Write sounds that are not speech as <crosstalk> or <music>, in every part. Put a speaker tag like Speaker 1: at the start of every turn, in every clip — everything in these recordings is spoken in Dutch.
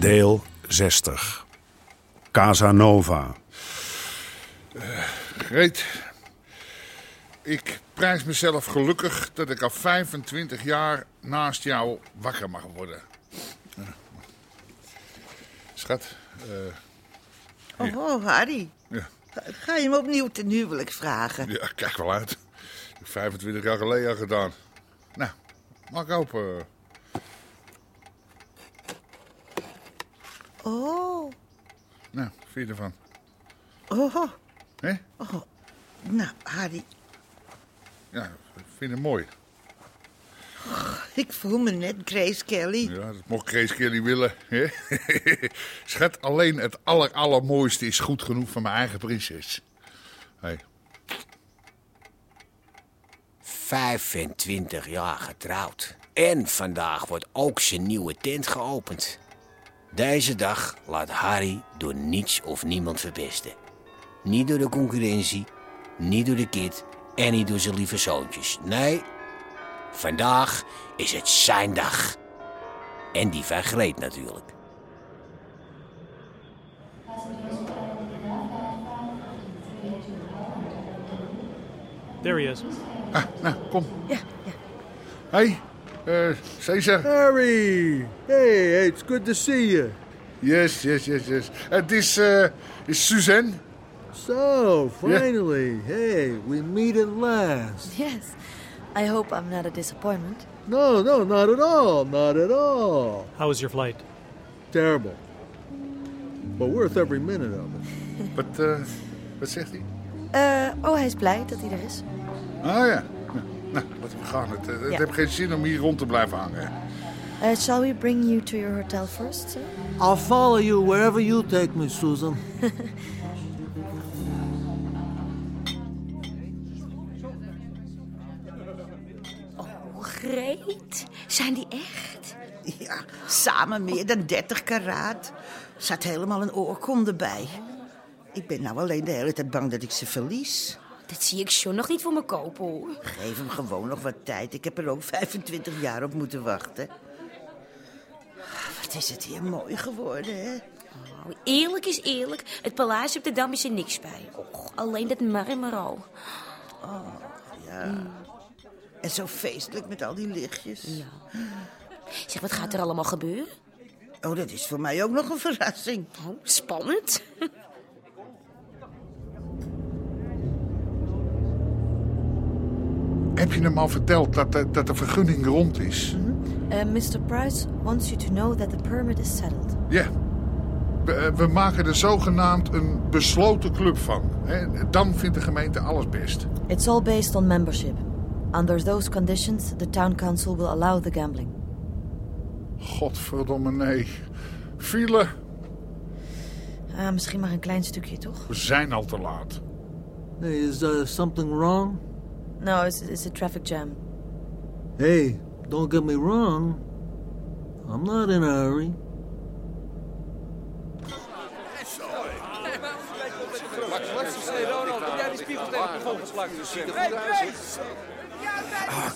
Speaker 1: Deel 60. Casanova.
Speaker 2: Greet. Ik prijs mezelf gelukkig dat ik al 25 jaar naast jou wakker mag worden. Eh, Schat, eh,
Speaker 3: Oh, oh, Harry.
Speaker 2: Ja.
Speaker 3: Ga- Ga je hem opnieuw ten huwelijk vragen?
Speaker 2: ja, kijk wel uit. Ik heb 25 jaar geleden al gedaan. Nou, maak open.
Speaker 3: Oh,
Speaker 2: Nou, wat vind je ervan?
Speaker 3: oh, oh.
Speaker 2: Hè?
Speaker 3: Nou, Harry,
Speaker 2: Ja, ik vind het mooi.
Speaker 3: ik voel me net Grace Kelly.
Speaker 2: Ja, dat mocht Grace Kelly willen. Hè? <laughs> Schat, alleen het aller, allermooiste is goed genoeg voor mijn eigen prinses. Hey.
Speaker 4: 25 jaar getrouwd. En vandaag wordt ook zijn nieuwe tent geopend. Deze dag laat Harry door niets of niemand verpesten. Niet door de concurrentie, niet door de kid en niet door zijn lieve zoontjes. Nee, vandaag is het zijn dag. En die van Greet natuurlijk.
Speaker 5: There he is.
Speaker 2: Ah, nou, kom. Ja, ja. Hé, hey, eh, Cesar.
Speaker 6: Harry! Hey, hey, it's good to see you.
Speaker 2: Yes, yes, yes, yes. Het is, eh, is Suzanne.
Speaker 6: So, finally, hey, we meet at last.
Speaker 7: Yes. I hope I'm not a disappointment.
Speaker 6: No, no, not at all, not at all.
Speaker 5: How was your flight?
Speaker 6: Terrible. But worth every minute of it.
Speaker 2: Wat, eh, wat zegt hij?
Speaker 7: Eh, oh, hij is blij dat hij er is.
Speaker 2: Ah ja. Nou, Nou, laten we gaan. Het, het
Speaker 7: Ja.
Speaker 2: heeft geen zin om hier rond te blijven hangen.
Speaker 7: Eh, shall we bring you to your hotel first, sir?
Speaker 6: I'll follow you wherever you take me, Susan.
Speaker 8: Greet? Zijn die echt?
Speaker 3: Ja, samen meer dan 30 karaat. Zat helemaal een oorkonde bij. Ik ben nou alleen de hele tijd bang dat ik ze verlies.
Speaker 8: Dat zie ik John nog niet voor me kopen hoor.
Speaker 3: Geef hem gewoon nog wat tijd. Ik heb er ook 25 jaar op moeten wachten. Wat is het hier mooi geworden, hè?
Speaker 8: Nou, eerlijk is eerlijk, het paleis op de Dam is er niks bij. Och, alleen dat marmer al.
Speaker 3: En zo feestelijk met al die lichtjes.
Speaker 8: Zeg, wat gaat er allemaal gebeuren?
Speaker 3: Oh, dat is voor mij ook nog een verrassing.
Speaker 8: Oh, spannend.
Speaker 2: Heb je hem al verteld dat, de- dat de vergunning rond is?
Speaker 7: Eh, Mr. Price wants you to know that the permit is settled.
Speaker 2: Ja. We, eh, we maken er zogenaamd een besloten club van. Hè? Dan vindt de gemeente alles best.
Speaker 7: It's all based on membership. Under those conditions, the town council will allow the gambling.
Speaker 2: Godverdomme, nee. File,
Speaker 7: Ah, misschien maar een klein stukje, toch?
Speaker 2: we zijn al te laat.
Speaker 6: Hey, is uh, something wrong?
Speaker 7: No, it's, it's a traffic jam.
Speaker 6: Hey, don't get me wrong. I'm not in a hurry.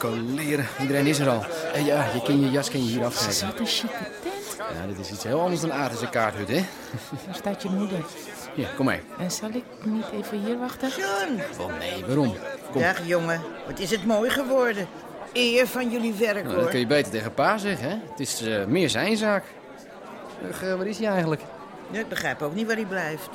Speaker 9: Ah, leren. Iedereen is er al. En ja, je kan je jas kan je hier afgeven.
Speaker 10: Wat een chique tent.
Speaker 9: Ja, dit is iets heel anders dan aardse kaarthut, hè?
Speaker 10: Daar staat je moeder.
Speaker 9: Ja, kom mee.
Speaker 10: En zal ik niet even hier wachten?
Speaker 3: John!
Speaker 9: Wel,
Speaker 4: Oh,
Speaker 9: nee, waarom? Kom.
Speaker 3: Dag jongen, wat is het mooi geworden. Eer van jullie werk
Speaker 9: Nou, dat kun
Speaker 3: hoor.
Speaker 9: je beter tegen pa zeggen, hè? Het is eh, meer zijn zaak. Ugh, eh, waar is hij eigenlijk?
Speaker 3: Ja, Ik begrijp ook niet waar hij blijft.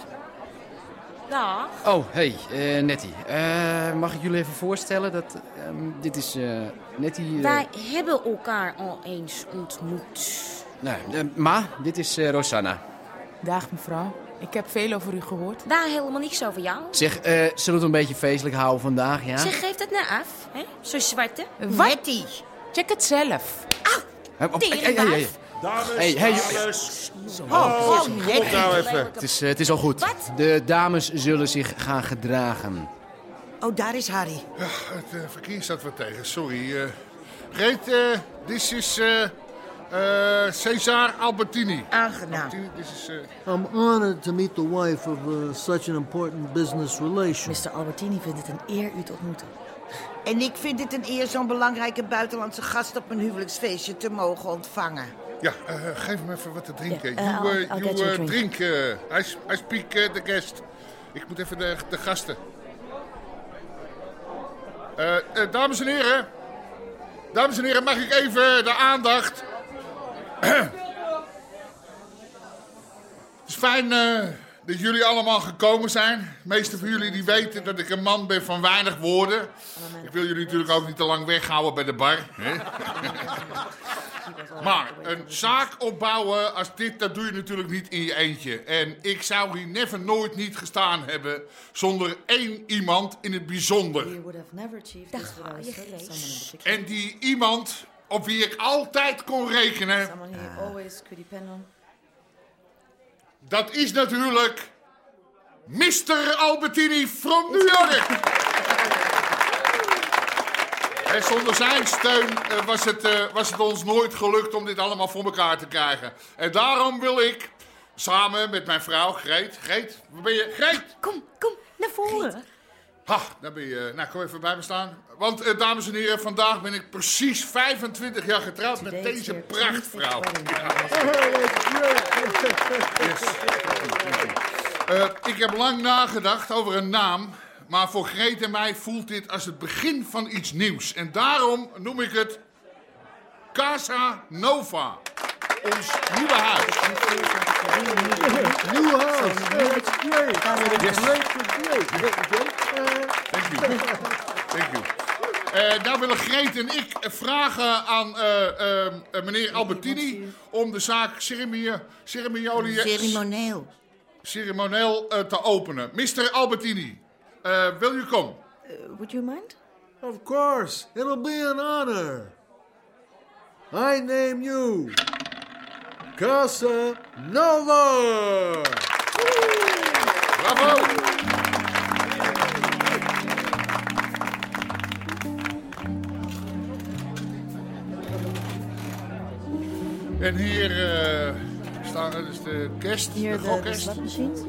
Speaker 8: Nou,
Speaker 9: Oh, hey, eh, Nettie. Eh, mag ik jullie even voorstellen dat... ehm, dit is eh, Nettie... eh,
Speaker 8: wij hebben elkaar al eens ontmoet.
Speaker 9: nou, eh, ma, dit is eh, Rosanna.
Speaker 10: Dag mevrouw. Ik heb veel over u gehoord.
Speaker 8: Daar helemaal niks over jou.
Speaker 9: Zeg, eh, zullen we het een beetje feestelijk houden vandaag, ja?
Speaker 8: Zeg, geef dat nou af. Hè? Zo'n zwarte.
Speaker 10: Wat?
Speaker 3: Nettie.
Speaker 10: Check het zelf.
Speaker 9: Hup, op- hey,
Speaker 8: teringbaas.
Speaker 9: hey, hey.
Speaker 11: Dames,
Speaker 9: Hey, hey, joh.
Speaker 11: dames.
Speaker 3: Oh,
Speaker 11: Kom
Speaker 3: Nettie.
Speaker 11: nou even.
Speaker 9: Het is, eh, het is al goed.
Speaker 8: Wat?
Speaker 9: De dames zullen zich gaan gedragen.
Speaker 3: Oh, daar is Harry.
Speaker 2: Ja, het eh, verkeer staat wat tegen, sorry. eh Greet, eh, dit is eh, eh, Cesar Albertini.
Speaker 3: Aangenaam.
Speaker 2: Albertini, Dit is... eh,
Speaker 6: I'm honored to meet the wife of uh, such an important business relation.
Speaker 7: Mr. Albertini vindt het een eer u te ontmoeten.
Speaker 3: En ik vind het een eer zo'n belangrijke buitenlandse gast op mijn huwelijksfeestje te mogen ontvangen.
Speaker 2: ja, eh, geef hem even wat te drinken.
Speaker 7: Ja, eh,
Speaker 2: you eh,
Speaker 7: I'll- I'll
Speaker 2: you,
Speaker 7: get you a
Speaker 2: eh,
Speaker 7: drink.
Speaker 2: drink. eh, I, s- I speak eh, the guest. Ik moet even de, de gasten. Eh, eh, dames en heren. Dames en heren, mag ik even de aandacht? Het is fijn eh, dat jullie allemaal gekomen zijn. De meesten van jullie die weten dat ik een man ben van weinig woorden. Ik wil jullie natuurlijk ook niet te lang weghouden bij de bar. Hè? Maar een zaak opbouwen als dit, dat doe je natuurlijk niet in je eentje. En ik zou hier never nooit niet gestaan hebben zonder één iemand in het bijzonder.
Speaker 7: You would have never achieved
Speaker 8: Daar
Speaker 7: this
Speaker 8: ga
Speaker 7: without
Speaker 8: je,
Speaker 7: someone in
Speaker 8: Grace.
Speaker 7: particular.
Speaker 2: En die iemand op wie ik altijd kon rekenen,
Speaker 7: Someone you always could depend on.
Speaker 2: dat is natuurlijk Mr. Albertini from New York. En zonder zijn steun eh, was, het, eh, was het ons nooit gelukt om dit allemaal voor elkaar te krijgen. En daarom wil ik, samen met mijn vrouw Greet... Greet, waar ben je? Greet!
Speaker 8: Kom, kom, naar voren.
Speaker 2: Ha, daar ben je. Nou, kom even bij me staan. Want, eh, dames en heren, vandaag ben ik precies 25 jaar getrouwd met
Speaker 7: Today is
Speaker 2: deze
Speaker 7: your
Speaker 2: prachtvrouw.
Speaker 7: 25th wedding
Speaker 2: Yes. Eh, ik heb lang nagedacht over een naam. Maar voor Greet en mij voelt dit als het begin van iets nieuws. En daarom noem ik het Casa Nova. Ons nieuwe huis.
Speaker 6: New house. Oh, That's great.
Speaker 2: Yes.
Speaker 6: Great, great, great.
Speaker 2: Thank you. Thank you. Eh, nou willen Greet en ik vragen aan eh, ehm, eh, meneer Albertini om de zaak ceremonie- ceremonie-
Speaker 3: Ceremoneel.
Speaker 2: ceremonieel eh, te openen. Mr. Albertini, eh, wil u komen?
Speaker 7: Uh, would you mind?
Speaker 6: Uh, Of course, it'll be an honor. I name you Casa Nova.
Speaker 2: Bravo! En hier eh, staan er dus de kerst,
Speaker 7: Near
Speaker 2: de
Speaker 7: the, the
Speaker 2: gokkers.
Speaker 7: slot machines?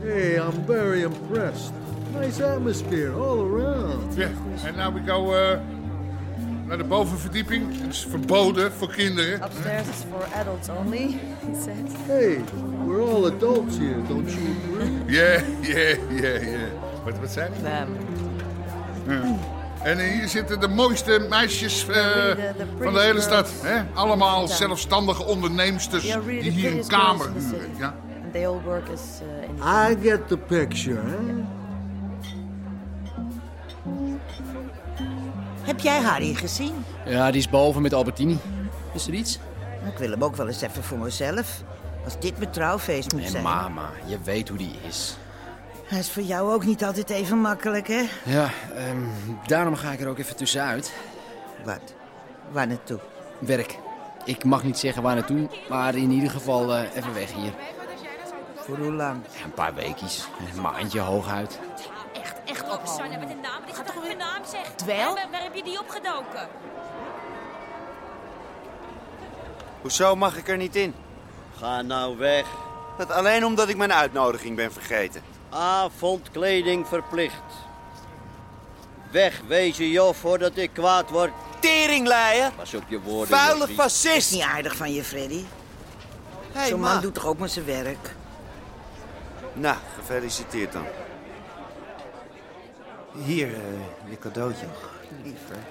Speaker 6: Hey, I'm very impressed. Nice atmosphere all around.
Speaker 2: Ja, en nou we go eh, naar de bovenverdieping. Het is verboden voor kinderen.
Speaker 7: Upstairs is for adults only, <laughs> he said.
Speaker 6: Hey, we're all adults here, don't you agree?
Speaker 2: Ja, ja, ja, ja. Wat, wat zijn die? En eh, hier zitten de mooiste meisjes eh, van de hele stad. Hè? Allemaal zelfstandige onderneemsters
Speaker 7: They are really
Speaker 2: die hier een
Speaker 7: prettiest
Speaker 2: kamer
Speaker 7: girls in the
Speaker 2: huren.
Speaker 7: city.
Speaker 2: Ja?
Speaker 7: And they all work as uh, in
Speaker 6: I get the picture, eh? huh?
Speaker 3: Heb jij Harry gezien?
Speaker 9: Ja, die is boven met Albertini. Is er iets?
Speaker 3: Nou, Ik wil hem ook wel eens even voor mezelf. Als dit mijn trouwfeest moet
Speaker 9: En
Speaker 3: zijn.
Speaker 9: mama, je weet hoe die is.
Speaker 3: Hij is voor jou ook niet altijd even makkelijk, hè?
Speaker 9: Ja, ehm, daarom ga ik er ook even tussenuit.
Speaker 3: Wat? Waar naartoe?
Speaker 9: Werk. Ik mag niet zeggen waar naartoe, maar in ieder geval eh, even weg hier.
Speaker 3: Voor hoe lang?
Speaker 9: Ja, Een paar weekjes, een maandje hooguit.
Speaker 8: Echt, echt op, Sanne. Wat een naam. Dit is toch een naam, zeg.
Speaker 10: Dwel?
Speaker 8: Waar, waar heb je die opgedoken?
Speaker 11: Hoezo mag ik er niet in?
Speaker 12: Ga nou weg.
Speaker 11: Dat alleen omdat ik mijn uitnodiging ben vergeten.
Speaker 12: Avondkleding verplicht. Wegwezen, joh, voordat ik kwaad word.
Speaker 11: Teringleier!
Speaker 12: Pas op je woorden.
Speaker 11: Vuile
Speaker 12: jochie.
Speaker 11: fascist!
Speaker 3: Niet aardig van je, Freddy.
Speaker 11: Hey,
Speaker 3: Zo'n
Speaker 11: ma.
Speaker 3: man doet toch ook maar zijn werk?
Speaker 11: Nou, gefeliciteerd dan. Hier, eh, je cadeautje. <laughs>
Speaker 3: Lieverd.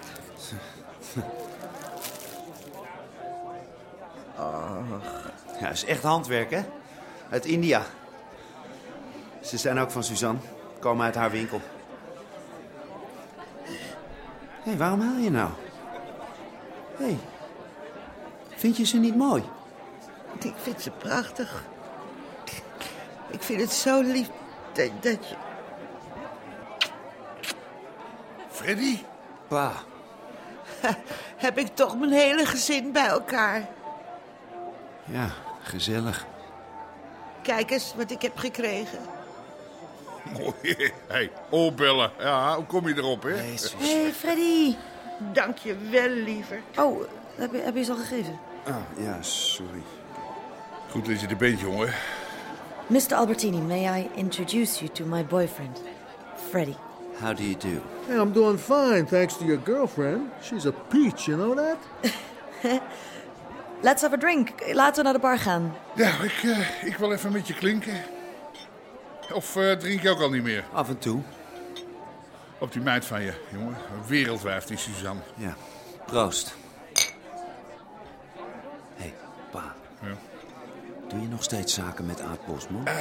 Speaker 11: Ja, is echt handwerk, hè? Uit India. Ze zijn ook van Suzanne. Komen uit haar winkel. Hé, hey, waarom haal je nou? Hé, hey, vind je ze niet mooi?
Speaker 3: Ik vind ze prachtig. Ik vind het zo lief dat, dat je...
Speaker 2: Freddy?
Speaker 11: Pa.
Speaker 3: Heb ik toch mijn hele gezin bij elkaar.
Speaker 11: Ja, gezellig.
Speaker 3: Kijk eens wat ik heb gekregen.
Speaker 2: Mooi. Hé, Oh, opbellen. Ja, hoe kom je erop, hè? Jezus.
Speaker 3: Hé, hey, Freddy. Dank je wel, liever.
Speaker 7: Oh, heb je, heb je ze al gegeven?
Speaker 11: Ah, ja, sorry.
Speaker 2: Goed dat je er bent, jongen.
Speaker 7: Mr. Albertini, may I introduce you to my boyfriend, Freddy?
Speaker 11: How do you do?
Speaker 6: Hey, I'm doing fine, thanks to your girlfriend. She's a peach, you know that?
Speaker 7: Let's have a drink. Laten we naar de bar gaan.
Speaker 2: Ja, ik, eh, ik wil even met je klinken. Of eh, drink je ook al niet meer?
Speaker 7: Ah.
Speaker 11: Af en toe.
Speaker 2: Op die meid van je, jongen. Een Wereldwijf, die Suzanne.
Speaker 11: Ja. Proost. Hé, hey, pa.
Speaker 2: Ja.
Speaker 11: Doe je nog steeds zaken met Aad Bosman? Eh,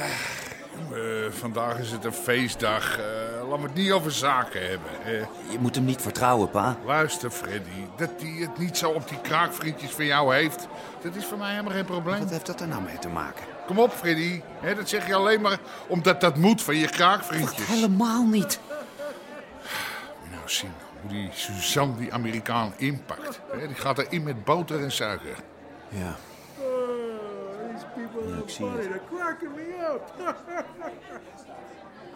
Speaker 2: Jongen, vandaag is het een feestdag. Eh, laat me het niet over zaken hebben. Eh,
Speaker 11: Je moet hem niet vertrouwen, pa.
Speaker 2: luister, Freddy. Dat hij het niet zo op die kraakvriendjes van jou heeft... dat is voor mij helemaal geen probleem.
Speaker 6: eh?
Speaker 11: Wat heeft dat er nou mee te maken?
Speaker 2: Kom op, Freddy. Hè, dat zeg je alleen maar omdat dat moet van je kraakvriendjes.
Speaker 11: Helemaal niet.
Speaker 2: Moet je nou zien hoe die Suzanne die Amerikaan inpakt. Hè, die gaat erin met boter en suiker.
Speaker 11: Ja. Ja, ik zie het.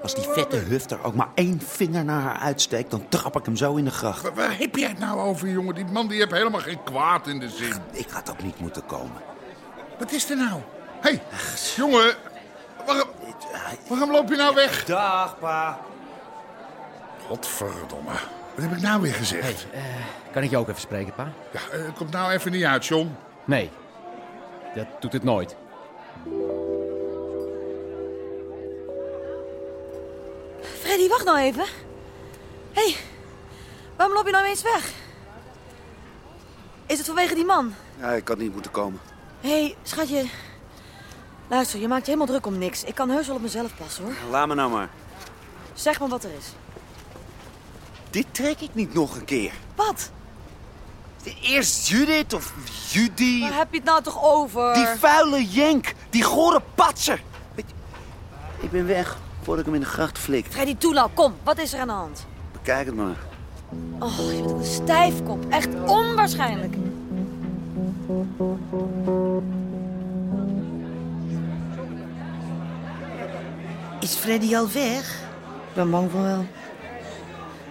Speaker 11: Als die vette hufter ook maar één vinger naar haar uitsteekt, dan trap ik hem zo in de gracht.
Speaker 2: Waar, waar heb jij het nou over, jongen? Die man die heeft helemaal geen kwaad in de zin.
Speaker 11: Ik had ook niet moeten komen.
Speaker 2: Wat is er nou? Hé, hey, jongen. Waarom, waarom loop je nou weg?
Speaker 11: Dag, pa.
Speaker 2: Godverdomme. Wat heb ik nou weer gezegd?
Speaker 9: Kan ik je ook even spreken, pa?
Speaker 2: Ja, eh, het komt nou even niet uit, John.
Speaker 9: Nee, dat doet het nooit.
Speaker 7: Freddy, wacht nou even. Hé, hey, waarom loop je nou ineens weg? Is het vanwege die man?
Speaker 11: Ja, ik had niet moeten komen.
Speaker 7: Hé, hey, schatje. Luister, je maakt je helemaal druk om niks. Ik kan heus wel op mezelf passen, hoor.
Speaker 11: Laat me nou maar.
Speaker 7: Zeg maar wat er is.
Speaker 11: Dit trek ik niet nog een keer.
Speaker 7: Wat?
Speaker 11: Eerst Judith of Judy.
Speaker 7: Waar heb je het nou toch over?
Speaker 11: Die vuile jenk. Die gore patser. Weet je, Ik ben weg voordat ik hem in de gracht flik.
Speaker 7: Freddy, toe nou, kom. Wat is er aan de hand?
Speaker 11: Bekijk het maar.
Speaker 7: Oh, je bent een stijfkop. Echt onwaarschijnlijk.
Speaker 3: Is Freddy al weg?
Speaker 7: Ik ben bang voor wel.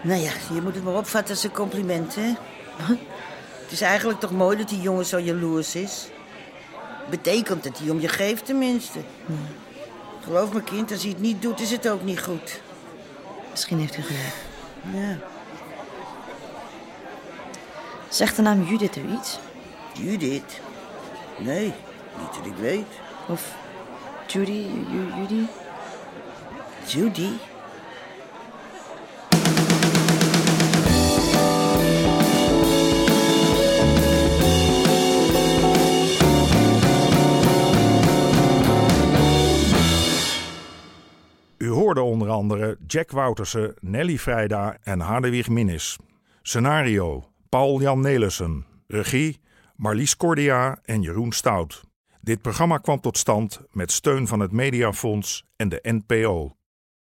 Speaker 3: Nou ja, je moet het maar opvatten als een compliment, hè? Het is eigenlijk toch mooi dat die jongen zo jaloers is. Betekent dat hij om je geeft, tenminste. Geloof me, kind, als hij het niet doet, is het ook niet goed.
Speaker 7: Misschien heeft u gelijk.
Speaker 3: Ja.
Speaker 7: Zegt de naam Judith u iets?
Speaker 3: Judith? Nee, niet dat ik weet.
Speaker 7: Of Judy? Ju- Ju- Judy?
Speaker 3: Judy?
Speaker 1: U hoorde onder andere Jack Woutersen, Nelly Vrijda en Hadewig Minnis. Scenario: Paul-Jan Nelissen. Regie: Marlies Cordia en Jeroen Stout. Dit programma kwam tot stand met steun van het Mediafonds en de NPO.